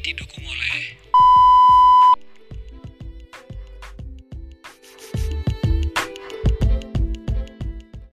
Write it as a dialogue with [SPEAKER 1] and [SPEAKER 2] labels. [SPEAKER 1] didukung